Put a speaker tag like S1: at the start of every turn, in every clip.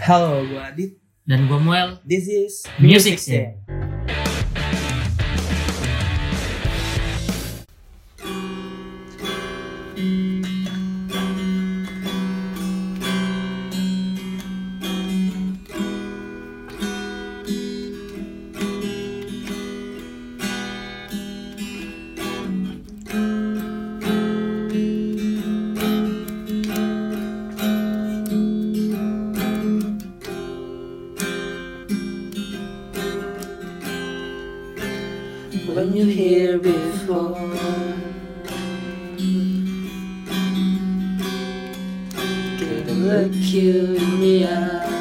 S1: Halo, gue Adit.
S2: Dan gue Muel.
S1: This is
S2: Music Scene.
S3: when you hear before. Gonna look you in the eye.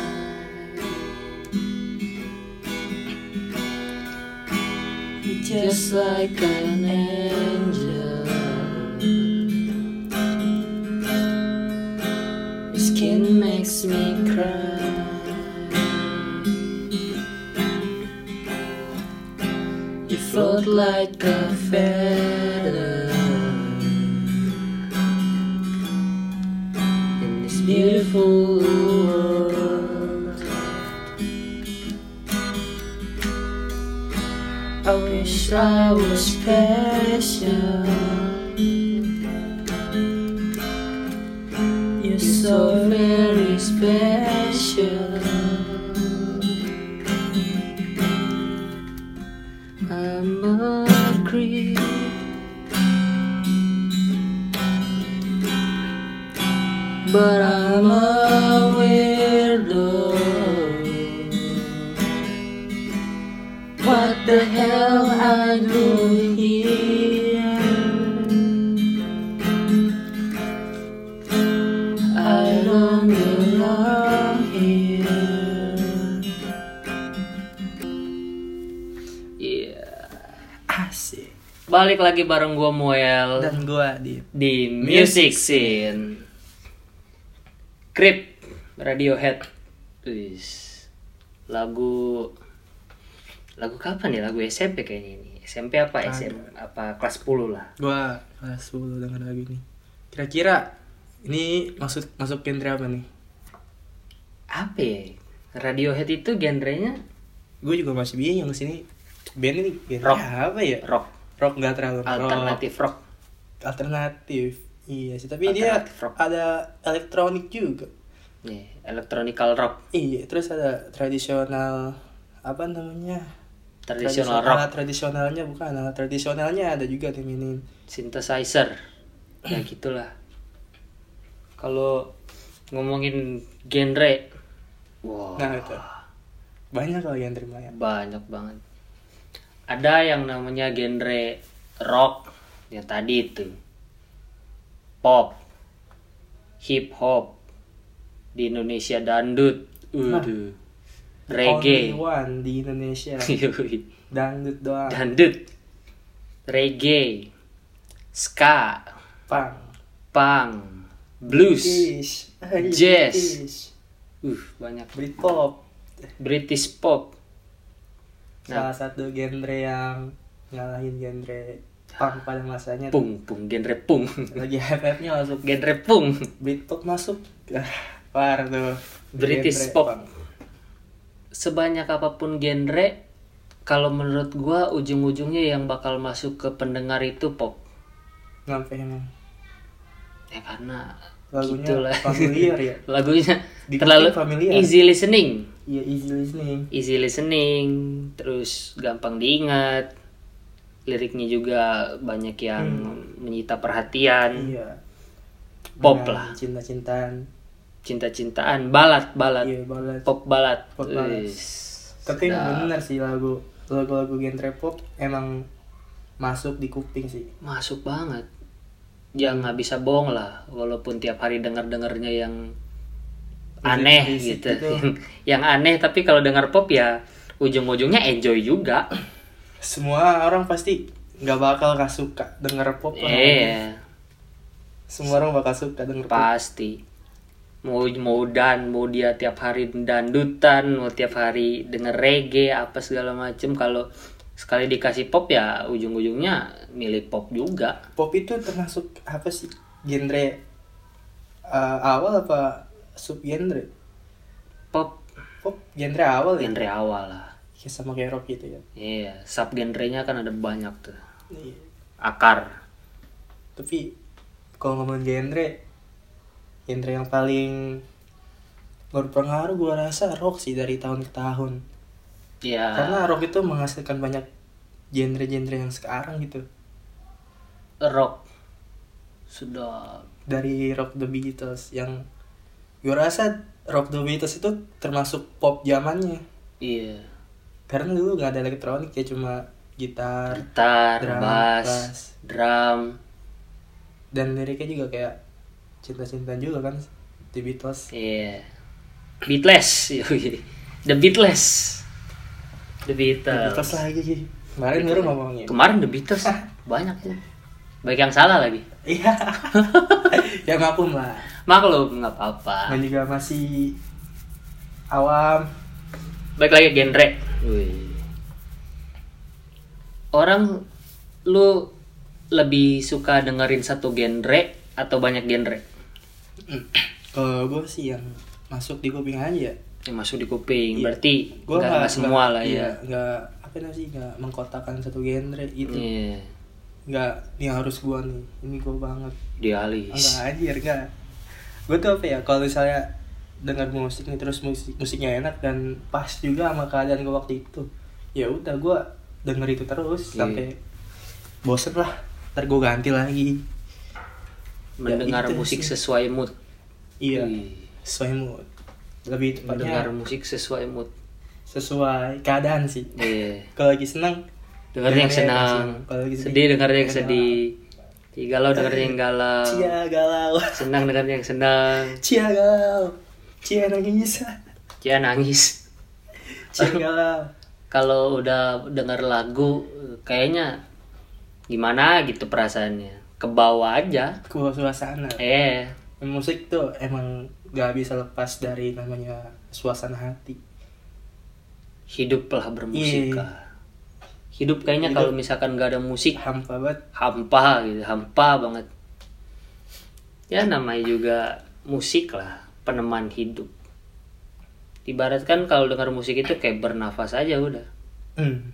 S3: Just like an angel. Your skin makes me cry. You float like a feather in this beautiful world. I wish I was special. You're so very special. I'm a creep. But I'm a weirdo. What the hell I doing here? I don't belong here. Yeah.
S1: Asik.
S2: Balik lagi bareng gue Muel
S1: Dan gue Adit.
S2: di Music Scene. Creep Radiohead. Wis. Lagu lagu kapan ya? Lagu SMP kayaknya ini. SMP apa? SMP apa kelas 10 lah.
S1: Gue kelas 10 dengan lagu ini. Kira-kira ini masuk masuk genre apa nih?
S2: Apa ya? Radiohead itu genrenya
S1: Gue juga masih bingung sini. Band ini genre
S2: Rock.
S1: apa ya?
S2: rock,
S1: Rock nggak terlalu rock.
S2: alternatif rock.
S1: Alternatif. Iya sih, tapi dia
S2: Alternatif rock.
S1: ada elektronik juga.
S2: Nih, electronical rock,
S1: Iya, terus ada tradisional apa namanya? Tradisi-
S2: traditional rock,
S1: Alat tradisionalnya bukan alat tradisionalnya ada juga dimainin.
S2: synthesizer. Ya gitulah. Kalau ngomongin genre, wow,
S1: Nah itu banyak kalau yang terima ya.
S2: banyak banget. Ada yang namanya genre rock, ya tadi itu. Pop, hip hop, di Indonesia dandut, udah,
S1: Only
S2: reggae.
S1: one di Indonesia
S2: Yoi.
S1: dangdut doang.
S2: dangdut, reggae, ska,
S1: Pang.
S2: punk, blues,
S1: Ish. Ish.
S2: Jazz.
S1: Ish.
S2: uh banyak
S1: Britpop
S2: British pop. Nah,
S1: salah satu genre yang ngalahin genre punk pada masanya.
S2: pung pung genre pung,
S1: Lagi hype-nya masuk
S2: genre pung,
S1: Britpop masuk. Ah, Par tuh.
S2: British
S1: Genre
S2: pop.
S1: punk.
S2: Sebanyak apapun genre, kalau menurut gua ujung-ujungnya yang bakal masuk ke pendengar itu pop.
S1: Kenapa emang?
S2: Ya karena
S1: Lagunya
S2: gitulah.
S1: familiar ya.
S2: Lagunya
S1: Dikit
S2: terlalu
S1: familiar.
S2: easy listening.
S1: Iya easy listening.
S2: easy listening, terus gampang diingat. Liriknya juga banyak yang
S1: Hmm.
S2: menyita perhatian,
S1: Iya.
S2: Pop
S1: Dengan
S2: lah.
S1: Cinta-cintaan.
S2: cinta-cintaan, balat, balat,
S1: Iya banget.
S2: pop Nah. balat.
S1: Pop balat.
S2: Wis.
S1: Tapi
S2: Sedap.
S1: bener sih lagu lagu-lagu genre pop emang masuk di kuping sih.
S2: masuk banget. Ya nggak bisa bohong lah, walaupun tiap hari denger-dengernya yang aneh
S1: Berisik
S2: gitu.
S1: gitu.
S2: yang aneh tapi kalau dengar pop ya ujung-ujungnya enjoy juga.
S1: Semua orang pasti nggak bakal gak suka denger pop lah.
S2: Iya.
S1: Semua orang bakal suka denger pop.
S2: pasti mau mau dan mau dia tiap hari dandutan mau tiap hari denger reggae apa segala macem kalau sekali dikasih pop ya ujung-ujungnya milih pop juga
S1: Pop itu termasuk apa sih genre eh, awal apa subgenre?
S2: pop
S1: genre awal ya
S2: genre awal lah
S1: ya sama kayak rock gitu ya
S2: iya sub genrenya kan ada banyak tuh
S1: Iya.
S2: akar
S1: tapi kalau ngomongin genre genre yang paling berpengaruh gue rasa rock sih dari tahun ke tahun
S2: iya
S1: karena rock itu menghasilkan banyak genre-genre yang sekarang gitu
S2: rock sudah
S1: dari rock the Beatles yang gue rasa rock the Beatles itu termasuk pop zamannya
S2: iya
S1: karena dulu nggak ada elektronik ya cuma gitar
S2: gitar
S1: Drum,
S2: bass,
S1: bass.
S2: drum
S1: dan liriknya juga kayak cinta-cinta juga kan The Beatles
S2: iya beatless yoi. the beatless the
S1: The
S2: beatles,
S1: Beatles lagi kemarin baru
S2: kan
S1: ngomongin
S2: kemarin the beatles banyak ya baik yang salah lagi
S1: iya ya ngakum lah
S2: maklum nggak apa-apa
S1: dan juga masih awam
S2: baik lagi genre Wih. orang lu lebih suka dengerin satu genre atau banyak genre
S1: kalau gue sih yang masuk di kuping aja ya
S2: yang masuk di kuping
S1: Iya.
S2: berarti
S1: gue
S2: nggak nggak semua lah ya
S1: iya, nggak apa namanya sih nggak mengkotakan satu genre gitu
S2: iya
S1: nggak ini harus gua nih ini gua banget enggak
S2: dialis
S1: anjir enggak gua tuh apa ya kalau misalnya dengar musik nih terus musik musiknya enak dan pas juga sama keadaan gua waktu itu ya udah gua denger itu terus
S2: Iya.
S1: sampai bosen lah ntar gua ganti lagi
S2: mendengar
S1: Ya, itu
S2: musik
S1: sih.
S2: sesuai mood
S1: iya
S2: Wih.
S1: sesuai mood lebih
S2: mendengar
S1: tepatnya
S2: musik sesuai mood
S1: sesuai keadaan sih
S2: iya
S1: kalau lagi senang
S2: dengar
S1: dengerin
S2: yang
S1: yang
S2: senang
S1: senang. Kalau lagi sedih,
S2: sedih dengar yang
S1: dengerin
S2: sedih galau dengar yang galau
S1: cia galau
S2: senang dengar yang senang
S1: cia galau cia nangis
S2: dia nangis
S1: cia galau
S2: kalau udah denger lagu kayaknya gimana gitu perasaannya ke bawah aja
S1: ke bawah suasana
S2: eh
S1: musik tuh emang gak bisa lepas dari namanya suasana hati
S2: hiduplah bermusik
S1: Iya.
S2: hidup kayaknya
S1: Hidup.
S2: kalau misalkan gak ada musik
S1: hampa banget
S2: hampa gitu hampa banget ya namanya juga musik lah peneman hidup ibaratkan kalau dengar musik itu kayak bernafas aja udah
S1: hmm.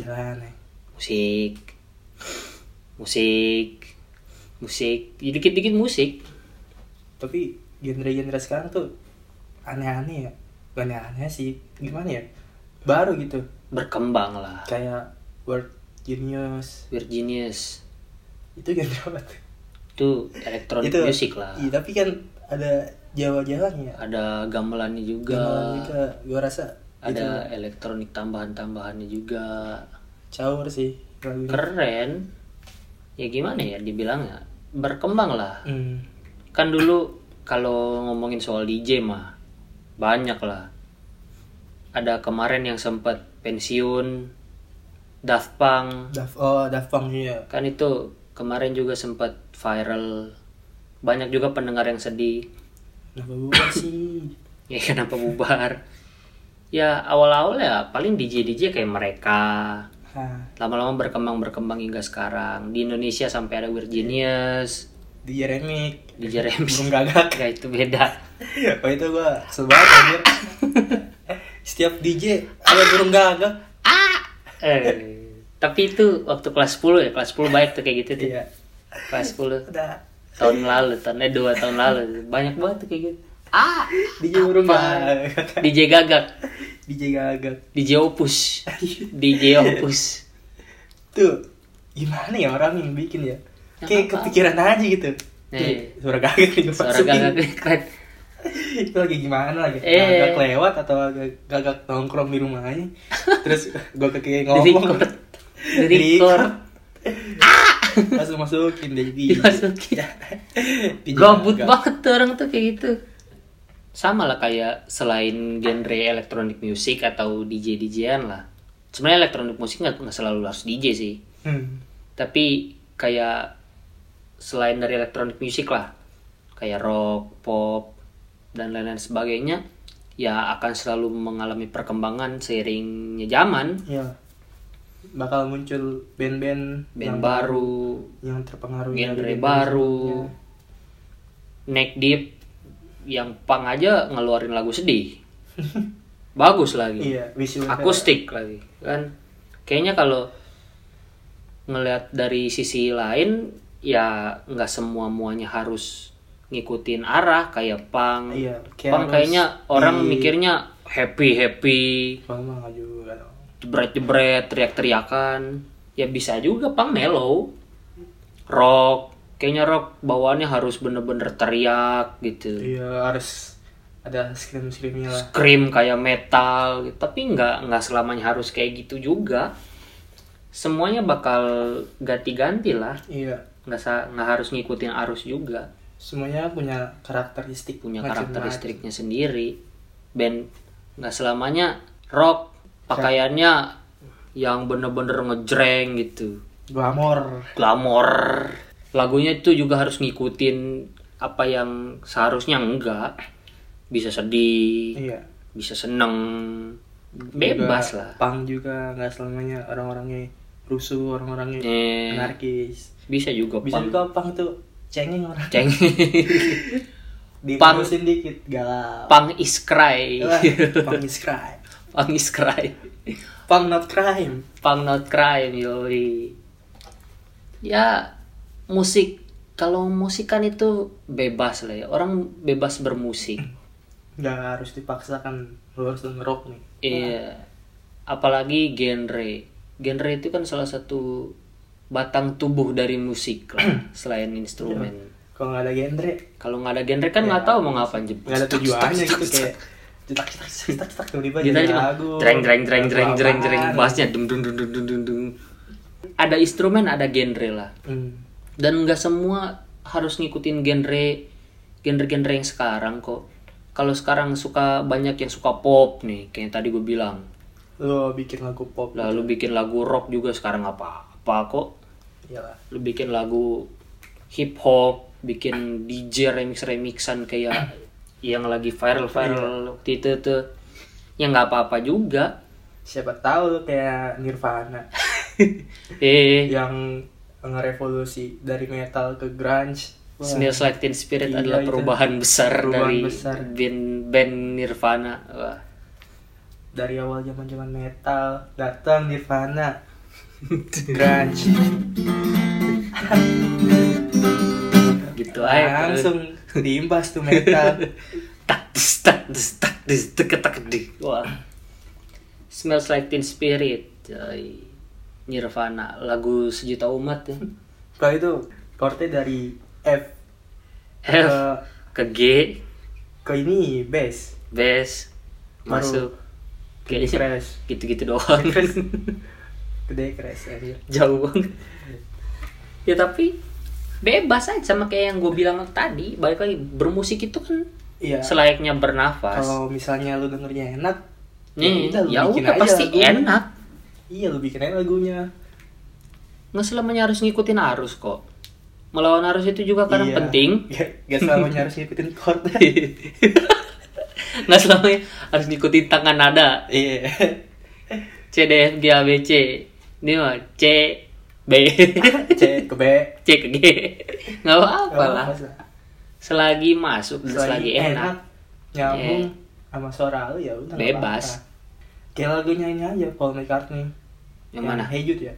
S1: jalan ya
S2: musik musik musik dikit-dikit musik
S1: tapi genre-genre sekarang tuh aneh-aneh ya Gak aneh-aneh sih gimana ya baru gitu
S2: berkembang lah
S1: kayak word genius
S2: Weird Genius
S1: itu genre apa tuh?
S2: itu electronic music lah
S1: iya tapi kan ada jawa-jawanya
S2: ada gamelannya juga
S1: Gamelan juga gue rasa itu
S2: ada elektronik tambahan-tambahannya juga
S1: caur sih lagunya
S2: keren ya gimana ya dibilangnya berkembang lah
S1: hmm.
S2: kan dulu kalau ngomongin soal DJ mah banyak lah ada kemarin yang sempat pensiun Daft Punk
S1: Daft, oh Daft Punk iya
S2: kan itu kemarin juga sempat viral banyak juga pendengar yang sedih
S1: kenapa gue sih
S2: ya kenapa bubar ya awal-awal ya paling DJ DJ kayak mereka
S1: Hah,
S2: lama-lama berkembang berkembang hingga sekarang di Indonesia sampai ada Weird Genius
S1: di Ya. Remix
S2: DJ Rems
S1: burung gagak
S2: ya itu beda
S1: Wah itu gua kesel banget anjir Eh, Setiap DJ ada burung gagak
S2: eh, tapi itu waktu kelas 10 ya kelas 10 baik tuh kayak gitu tuh
S1: Iya
S2: kelas 10
S1: Udah
S2: tahun lalu tahun eh, dua tahun lalu banyak banget tuh kayak gitu ah
S1: DJ burung
S2: Apa?
S1: gagak
S2: DJ gagak
S1: DJ gagak
S2: DJ opus DJ opus
S1: Tuh Gimana ya orang yang bikin ya Kayak
S2: apa-apa.
S1: kepikiran aja gitu Tuh,
S2: Nih.
S1: Suara gagak nih gua
S2: suara
S1: masukin.
S2: gagak keren
S1: Itu lagi gimana lagi
S2: Eh.
S1: Gagak lewat atau gagak- gagak nongkrong di rumahnya Terus gua ke kiri ngomong
S2: Di-record. Di-record.
S1: Ah! Langsung masukin deh di
S2: Dimasukin.
S1: DJ
S2: Gabut
S1: gagak.
S2: banget tuh orang tuh kayak gitu. Sama lah kayak selain genre electronic music atau DJ DJ-an lah. Sebenarnya electronic music nggak nggak selalu harus DJ sih.
S1: Hmm.
S2: Tapi kayak selain dari electronic music lah, kayak rock, pop dan lain-lain sebagainya, ya akan selalu mengalami perkembangan seiringnya zaman.
S1: ya bakal muncul band-band
S2: Band baru,
S1: yang terpengaruh dari
S2: genre
S1: band Iya.
S2: baru neck deep yang pang aja ngeluarin lagu sedih bagus lagi
S1: Iya, visual
S2: akustik lagi kan kayaknya kalau ngelihat dari sisi lain ya nggak semua muanya harus ngikutin arah kayak pang
S1: Iya, kayak
S2: pang
S1: harus
S2: kayaknya orang
S1: di-
S2: mikirnya happy happy
S1: Mama nggak juga dong.
S2: jebret jebret teriak teriakan ya bisa juga pang mellow rock kayaknya rock bawaannya harus bener bener teriak gitu
S1: Iya harus ada scream screamnya lah.
S2: scream kayak metal gitu. tapi nggak nggak selamanya harus kayak gitu juga semuanya bakal ganti-ganti lah
S1: Iya,
S2: nggak sa- nggak harus ngikutin arus juga
S1: semuanya punya karakteristik.
S2: punya
S1: macam-macam.
S2: karakteristiknya sendiri band nggak selamanya rock pakaiannya yang bener-bener ngejreng gitu
S1: Glamor.
S2: glamor lagunya itu juga harus ngikutin apa yang seharusnya enggak bisa sedih
S1: Iya.
S2: bisa seneng bebas
S1: Juga
S2: lah
S1: Punk juga nggak selamanya orang-orangnya rusuh, orang-orangnya
S2: Eh,
S1: anarkis.
S2: bisa juga
S1: Bisa
S2: pang
S1: juga punk tuh cengeng orang.
S2: ceng
S1: Dipanusin dikit galau.
S2: pang is cry
S1: Wah, punk is crime.
S2: pang is cry
S1: Punk not crime.
S2: pang not crime yoi ya musik kalau musik kan itu bebas lah ya orang bebas bermusik
S1: Nggak harus dipaksakan lu harus ngerok nih.
S2: Iya. Apalagi genre. Genre itu kan salah satu batang tubuh dari musik
S1: Iya.
S2: lah, selain instrumen.
S1: Kalau nggak ada genre,
S2: Kalau nggak ada genre kan nggak tahu mau ngapain
S1: Iya. nggak ada tujuannya gitu kayak cetak cetak cetak cetak, cetak tiba-tiba
S2: Kita
S1: jadi
S2: cuma
S1: lagu
S2: jreng jreng jreng jreng
S1: Lagu
S2: jreng jreng
S1: apaan.
S2: bassnya dung dung dung dung dung dung dung. Ada instrumen, ada genre lah.
S1: hmm.
S2: Dan nggak semua harus ngikutin genre genre-genre yang sekarang kok. Kalau sekarang suka banyak yang suka pop nih, kayak tadi gue bilang.
S1: lo bikin lagu pop
S2: Lalu bikin lagu rock juga sekarang apa-apa kok.
S1: iyalah
S2: lu bikin lagu hip hop, bikin DJ remix remixan kayak yang lagi viral
S1: Iya.
S2: viral waktu itu tuh, ya nggak apa apa juga.
S1: siapa tahu lo kayak Nirvana Iya.
S2: Eh,
S1: yang ngerevolusi dari metal ke grunge Wah,
S2: Smells Like Teen Spirit
S1: Iya,
S2: adalah
S1: itu.
S2: perubahan besar
S1: Perubahan
S2: dari
S1: besar.
S2: band band Nirvana. Wah,
S1: dari awal zaman zaman metal datang Nirvana grunge
S2: gitu aja.
S1: Iya, langsung diimbas tuh metal
S2: tak dis tak dis tak dis tek, tek, dik. Wah. Smells Like Teen Spirit. coy. Nirvana, lagu sejuta umat ya.
S1: kalau itu chordnya dari F
S2: F
S1: Eh.
S2: ke G
S1: ke ini bass
S2: bes
S1: Baru
S2: masuk
S1: ke
S2: kayaknya
S1: crash
S2: gitu-gitu doang
S1: gede crash anjir
S2: jauh banget ya tapi bebas aja sama kayak yang gue bilang tadi balik lagi bermusik itu kan
S1: Iya.
S2: selayaknya bernafas
S1: Kalau misalnya lu dengernya enak,
S2: nih
S1: udah, lu
S2: ya
S1: bikin
S2: udah
S1: aja
S2: pasti
S1: lagunya.
S2: enak
S1: Iya, lu bikin aja lagunya.
S2: nggak selamanya harus ngikutin arus kok melawan arus itu juga kadang
S1: Iya.
S2: penting Iya.
S1: Gak, gak selamanya harus ngikutin chord.
S2: nggak selamanya harus ngikutin tangan nada
S1: Iya.
S2: C D F G A B C ini mah C B
S1: C ke B.
S2: C ke G nggak apa-apa lah
S1: Apa-apa sih.
S2: selagi masuk dan selagi enak, Iya.
S1: nyambung sama suara lu ya udah nggak
S2: Bebas.
S1: apa-apa. Kayak lagunya ini aja Paul McCartney.
S2: yang mana
S1: Hey Jude ya.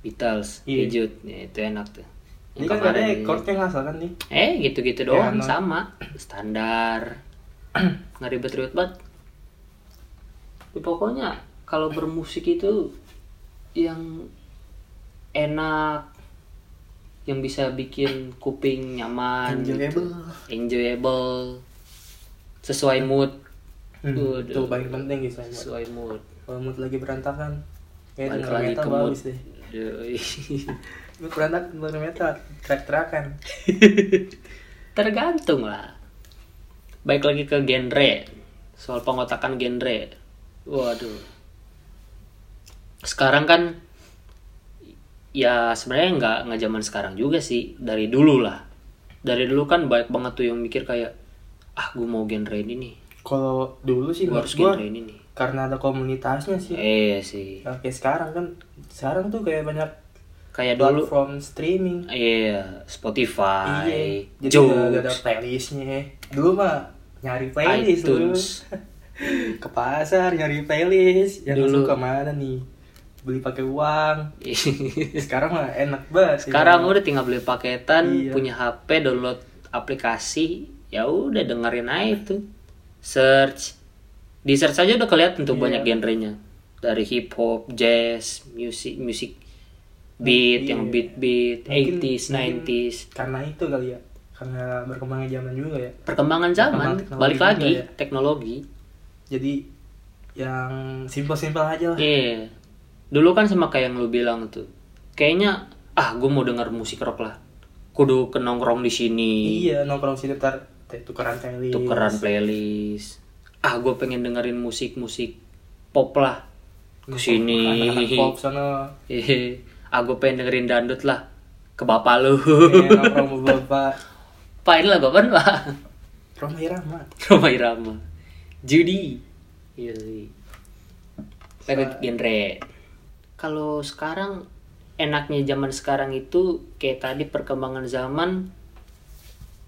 S2: Beatles
S1: Iya.
S2: Hijut ya, itu enak tuh
S1: Ini
S2: Yang
S1: kan
S2: kemarin
S1: katanya
S2: ini.
S1: chordnya nggak salah kan nih.
S2: eh gitu-gitu doang
S1: Piano.
S2: sama standar nggak ribet-ribet banget Tapi pokoknya kalau bermusik itu yang enak yang bisa bikin kuping nyaman gitu.
S1: Enjoyable.
S2: enjoyable sesuai mood
S1: Hmm,
S2: Waduh.
S1: Itu paling penting gitu. Bang.
S2: sesuai mood
S1: Kalau mood lagi berantakan, kayak
S2: balik
S1: denger
S2: lagi
S1: metal
S2: ke mood
S1: bagus deh.
S2: Aduh.
S1: Mood berantakan denger metal, teriak-teriakan.
S2: Tergantung lah. Baik lagi ke genre. Soal pengotakan genre. Waduh. Sekarang kan ya sebenarnya nggak nggak zaman sekarang juga sih dari dulu lah dari dulu kan banyak banget tuh yang mikir kayak ah gue mau genre ini nih
S1: Kalau dulu sih
S2: gue
S1: menurut Iya,
S2: harus
S1: gua
S2: genre ini nih
S1: karena ada komunitasnya sih.
S2: eh sih
S1: Nah, kayak sekarang kan sekarang tuh kayak banyak
S2: kayak dulu
S1: platform streaming.
S2: iya Spotify
S1: Iya. Jadi
S2: Joox,
S1: udah ada playlistnya. Dulu mah nyari playlist dulu.
S2: iTunes
S1: ke pasar nyari playlist yang
S2: Dulu.
S1: suka mana nih beli pakai uang Ya, sekarang mah enak banget
S2: Sekarang udah tinggal beli paketan,
S1: Iya.
S2: punya HP, download aplikasi, ya udah dengerin aja itu. Search. Di search aja udah kelihatan tuh
S1: Iya.
S2: banyak genrenya. Dari hip hop, jazz, music, music beat
S1: Iya.
S2: yang beat-beat,
S1: Mungkin- iya.
S2: 80s,
S1: mungkin
S2: 90s.
S1: karena itu kali ya karena berkembangnya zaman juga ya
S2: Perkembangan zaman,
S1: Perkembangan teknologi
S2: balik lagi
S1: juga ya.
S2: teknologi.
S1: jadi yang simpel-simpel aja lah
S2: Iya. Dulu kan sama kayak yang lu bilang tuh. Kayaknya ah gue mau denger musik rock lah. Kudu ke nongkrong di sini.
S1: iya nongkrong sini ntar te- tukeran playlist
S2: tukeran playlist ah gue pengen dengerin musik musik pop lah kesini
S1: Anak-anak pop sana
S2: Hehe. ah gue pengen dengerin dandut lah ke bapak lu
S1: eh, nongkrong sama bapak
S2: pak ini lagu apaan pak
S1: Roma Irama
S2: Roma Irama Judy iya sih lagu genre kalau sekarang enaknya zaman sekarang itu kayak tadi perkembangan zaman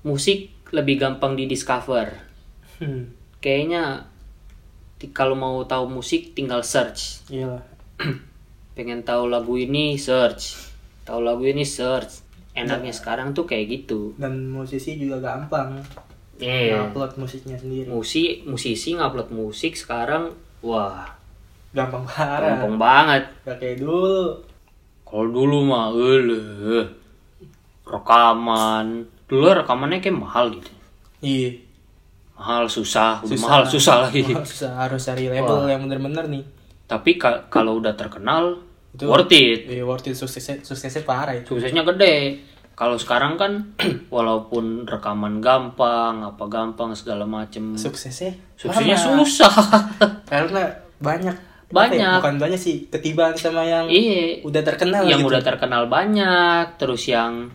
S2: musik lebih gampang di discover
S1: hmm.
S2: kayaknya ti- kalau mau tahu musik tinggal search
S1: iyalah
S2: pengen tahu lagu ini search tahu lagu ini search enaknya sekarang tuh kayak gitu
S1: dan musisi juga gampang
S2: iya
S1: upload musiknya sendiri
S2: musik musisi ngupload musik sekarang wah
S1: gampang parah
S2: gampang banget
S1: gak kayak dulu
S2: kalau dulu mah eleh rekaman dulu rekamannya kayak mahal gitu
S1: iya
S2: mahal susah, udah mahal susah lagi
S1: Wah, susah harus cari label yang bener-bener nih
S2: tapi ka- kalau udah terkenal
S1: Itu-
S2: worth it
S1: eh, worth it suksesnya, suksesnya parah ya, itu
S2: suksesnya gede kalau sekarang kan walaupun rekaman gampang apa gampang segala macem
S1: suksesnya
S2: suksesnya
S1: lama.
S2: susah
S1: karena banyak
S2: Banyak.
S1: Apa ya, bukan banyak sih ketibaan sama yang
S2: iya
S1: udah terkenal
S2: yang
S1: gitu.
S2: udah terkenal banyak terus yang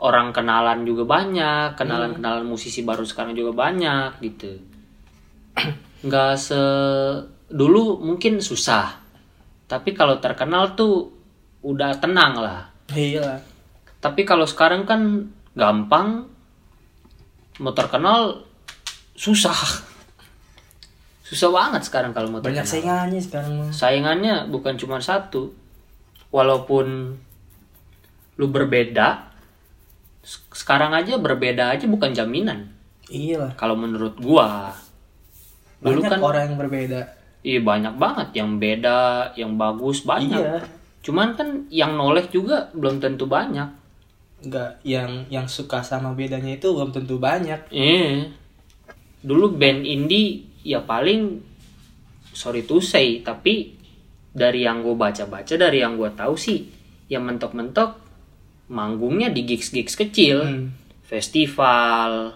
S2: orang kenalan juga banyak kenalan
S1: Hmm.
S2: kenalan musisi baru sekarang juga banyak gitu nggak se dulu mungkin susah tapi kalau terkenal tuh udah tenang lah
S1: iya lah
S2: Tapi kalau sekarang kan gampang, mau terkenal susah. Susah banget sekarang kalau mau
S1: banyak
S2: terkenal.
S1: saingannya sekarang mah.
S2: Saingannya bukan cuma satu. Walaupun lu berbeda, se- sekarang aja berbeda aja bukan jaminan.
S1: iya lah
S2: Kalau menurut gua, dulu
S1: banyak
S2: kan
S1: orang yang berbeda
S2: iya banyak banget yang beda, yang bagus banyak.
S1: Iya.
S2: Cuman kan yang noleh juga belum tentu banyak.
S1: nggak yang yang suka sama bedanya itu belum tentu banyak
S2: Iya. Dulu band indie ya paling sorry to say tapi dari yang gue baca-baca dari yang gue tahu sih yang mentok-mentok manggungnya di gigs-gigs kecil,
S1: Hmm.
S2: festival,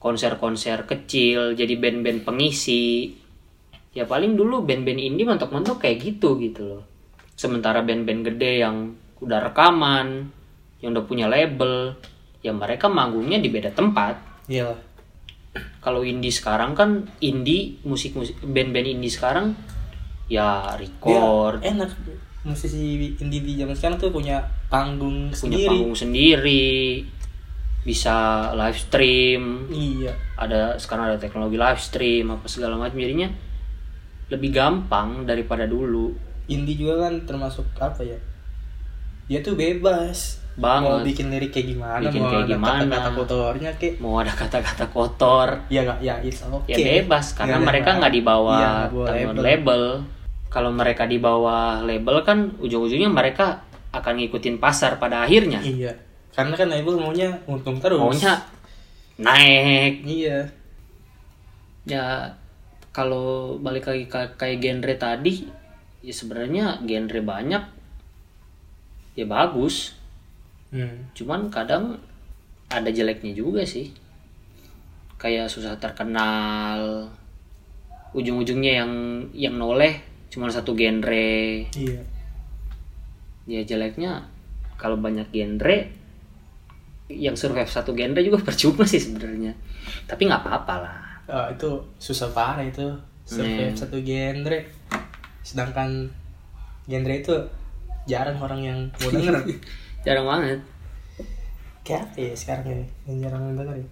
S2: konser-konser kecil, jadi band-band pengisi. Ya paling dulu band-band indie mentok-mentok kayak gitu gitu loh. Sementara band-band gede yang udah rekaman, yang udah punya label, ya mereka manggungnya di beda tempat
S1: iya lah
S2: kalau indie sekarang kan indie musik musik band-band indie sekarang ya
S1: Dia
S2: record
S1: enak musisi indie di zaman sekarang tuh punya panggung sendiri
S2: punya panggung sendiri bisa live stream
S1: iya
S2: ada sekarang ada teknologi live stream apa segala macam jadinya lebih gampang daripada dulu
S1: indie juga kan termasuk apa ya dia tuh bebas
S2: Banget.
S1: mau bikin lirik kayak gimana
S2: Bikin
S1: mau
S2: kayak
S1: ada
S2: gimana.
S1: kata-kata kotornya kayak
S2: mau ada kata-kata kotor
S1: ya nggak ya it's okay
S2: ya bebas karena
S1: Nggak ada
S2: mereka nggak di bawah
S1: Iya, nggak bawa
S2: tanggung
S1: label.
S2: label kalau mereka di bawah label kan ujung-ujungnya mereka akan ngikutin pasar pada akhirnya
S1: iya karena kan label maunya untung terus
S2: maunya naik
S1: iya
S2: ya kalau balik lagi ke- kayak genre tadi ya sebenarnya genre banyak ya bagus
S1: hmm.
S2: cuman kadang ada jeleknya juga sih kayak susah terkenal ujung-ujungnya yang yang noleh cuma satu genre
S1: iya
S2: ya jeleknya kalau banyak genre yang survive satu genre juga percuma sih sebenarnya tapi nggak apa-apa lah
S1: Ah, itu susah parah itu survive
S2: Hmm.
S1: satu genre sedangkan genre itu jarang orang yang mau denger
S2: jarang banget
S1: kayak apa ya sekarang ini yang jarang denger ya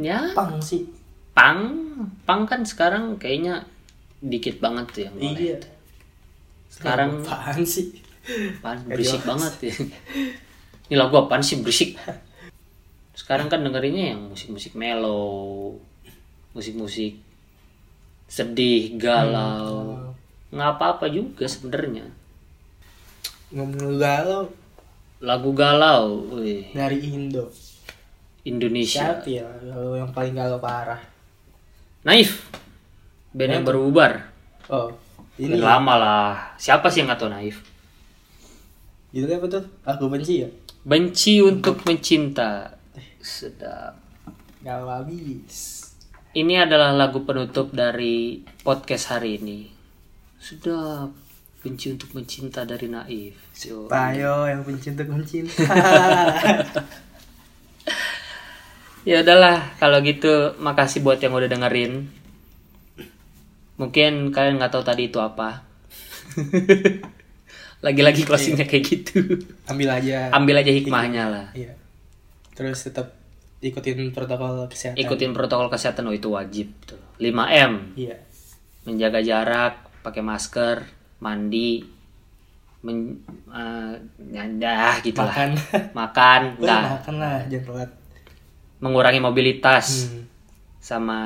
S2: ya
S1: pang sih
S2: punk pang pang kan sekarang kayaknya dikit banget tuh yang boleh.
S1: iya
S2: sekarang
S1: apaan sih
S2: apaan,
S1: Nggak
S2: berisik
S1: jelas.
S2: banget ya ini lagu apaan sih berisik sekarang kan dengerinnya yang musik-musik mellow musik-musik sedih galau nggak apa-apa juga sebenarnya
S1: ngomong galau
S2: lagu galau wih,
S1: dari Indo
S2: Indonesia
S1: siapa ya galau yang paling galau parah
S2: Naif band yang baru bubar
S1: oh ini
S2: Udah lama lah siapa sih yang nggak tahu Naif
S1: gitu apa tuh aku benci ya
S2: benci untuk mencinta sedap
S1: galau habis
S2: Ini adalah lagu penutup dari podcast hari ini. Sudah benci untuk mencinta dari Naif. So,
S1: Tayo yang pencinta pencinta
S2: ya udahlah kalau gitu makasih buat yang udah dengerin. Mungkin kalian nggak tahu tadi itu apa. Lagi-lagi closingnya kayak gitu.
S1: ambil aja
S2: Ambil aja hikmahnya lah.
S1: iya terus tetap ikutin protokol kesehatan
S2: Ikutin protokol kesehatan oh itu wajib tuh. 5M,
S1: iya
S2: menjaga jarak, pakai masker, mandi, men, eh, nyandah gitu lah.
S1: makan
S2: makan,
S1: Wah,
S2: nah,
S1: makan lah jangan telat
S2: mengurangi mobilitas
S1: Hmm.
S2: sama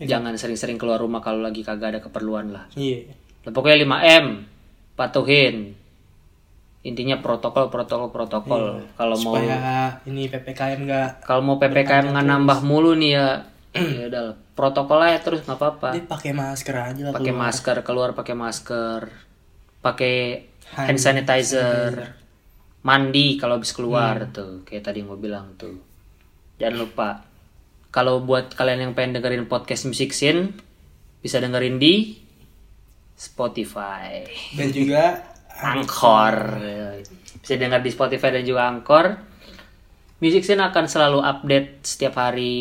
S1: Iya.
S2: jangan sering-sering keluar rumah kalau lagi kagak ada keperluan lah.
S1: iya
S2: Lah, Pokoknya 5M patuhin. Intinya protokol protokol protokol. Kalau
S1: Iya,
S2: mau
S1: supaya ini ppkm nggak
S2: kalau mau PPKM nggak nambah mulu nih ya ya udah lah. protokol aja terus nggak apa-apa.
S1: dia pakai masker aja lah
S2: Pakai
S1: keluar.
S2: masker keluar pakai masker. Pakai
S1: Hand
S2: hand sanitizer. Iya. Mandi kalau habis keluar tuh kayak tadi yang gue bilang tuh. Jangan lupa kalau buat kalian yang pengen dengerin podcast Music Scene bisa dengerin di Spotify.
S1: dan juga
S2: Angkor. Bisa dengar di Spotify dan juga Angkor. Music Scene akan selalu update setiap hari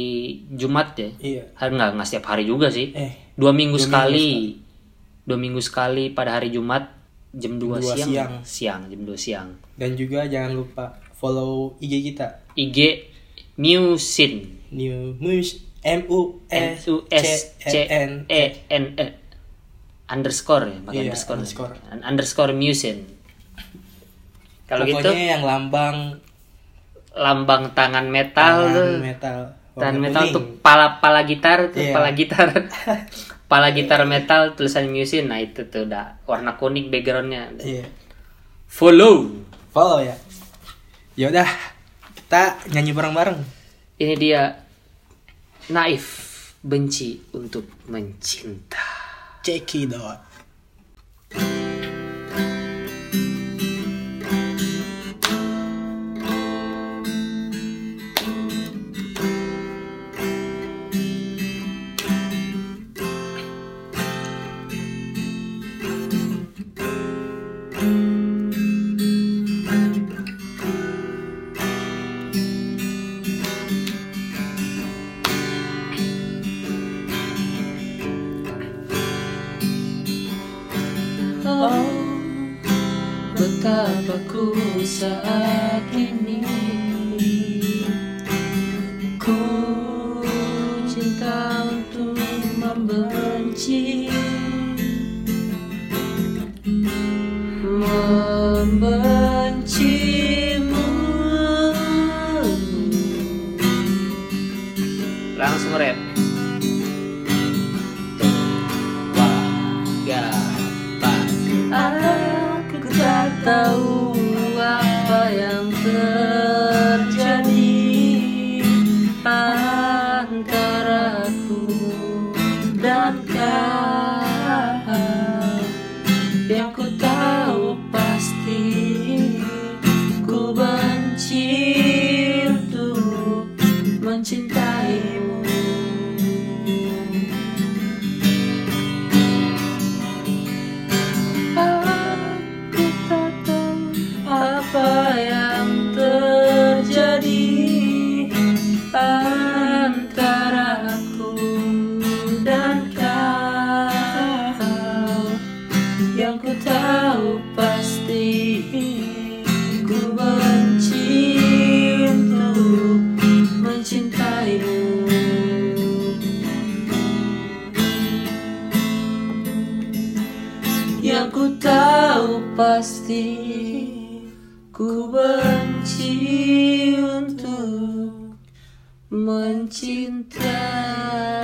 S2: Jumat ya.
S1: iya
S2: Hari enggak, enggak setiap hari juga sih.
S1: eh
S2: Dua minggu sekali. Dua minggu sekali pada hari Jumat jam 2
S1: Dua
S2: siang.
S1: siang.
S2: jam 2 siang.
S1: dan juga jangan lupa follow ig kita
S2: IG New Scene.
S1: new mus m u
S2: N
S1: s
S2: U S C
S1: n
S2: E N E underscore ya, pakai
S1: Iya,
S2: underscore.
S1: underscore.
S2: Underscore New Scene. Kalau
S1: pokoknya
S2: gitu
S1: yang lambang
S2: lambang tangan metal tuh.
S1: tangan metal
S2: Dan
S1: warna
S2: metal
S1: kuning.
S2: tuh pala pala gitar tuh
S1: Iya.
S2: pala gitar pala gitar metal tulisan musin nah itu tuh udah warna kuning backgroundnya
S1: iya
S2: follow
S1: follow ya ya udah kita nyanyi bareng bareng
S2: ini dia naif benci untuk mencinta
S1: cekidot
S3: Oh, betapa ku saat ini Ku cinta untuk membenci Membencimu
S2: langsung rap Tiga, empat.
S3: Aku tak tahu apa yang terjadi antaraku dan kau Ku tahu pasti Ku benci untuk mencintai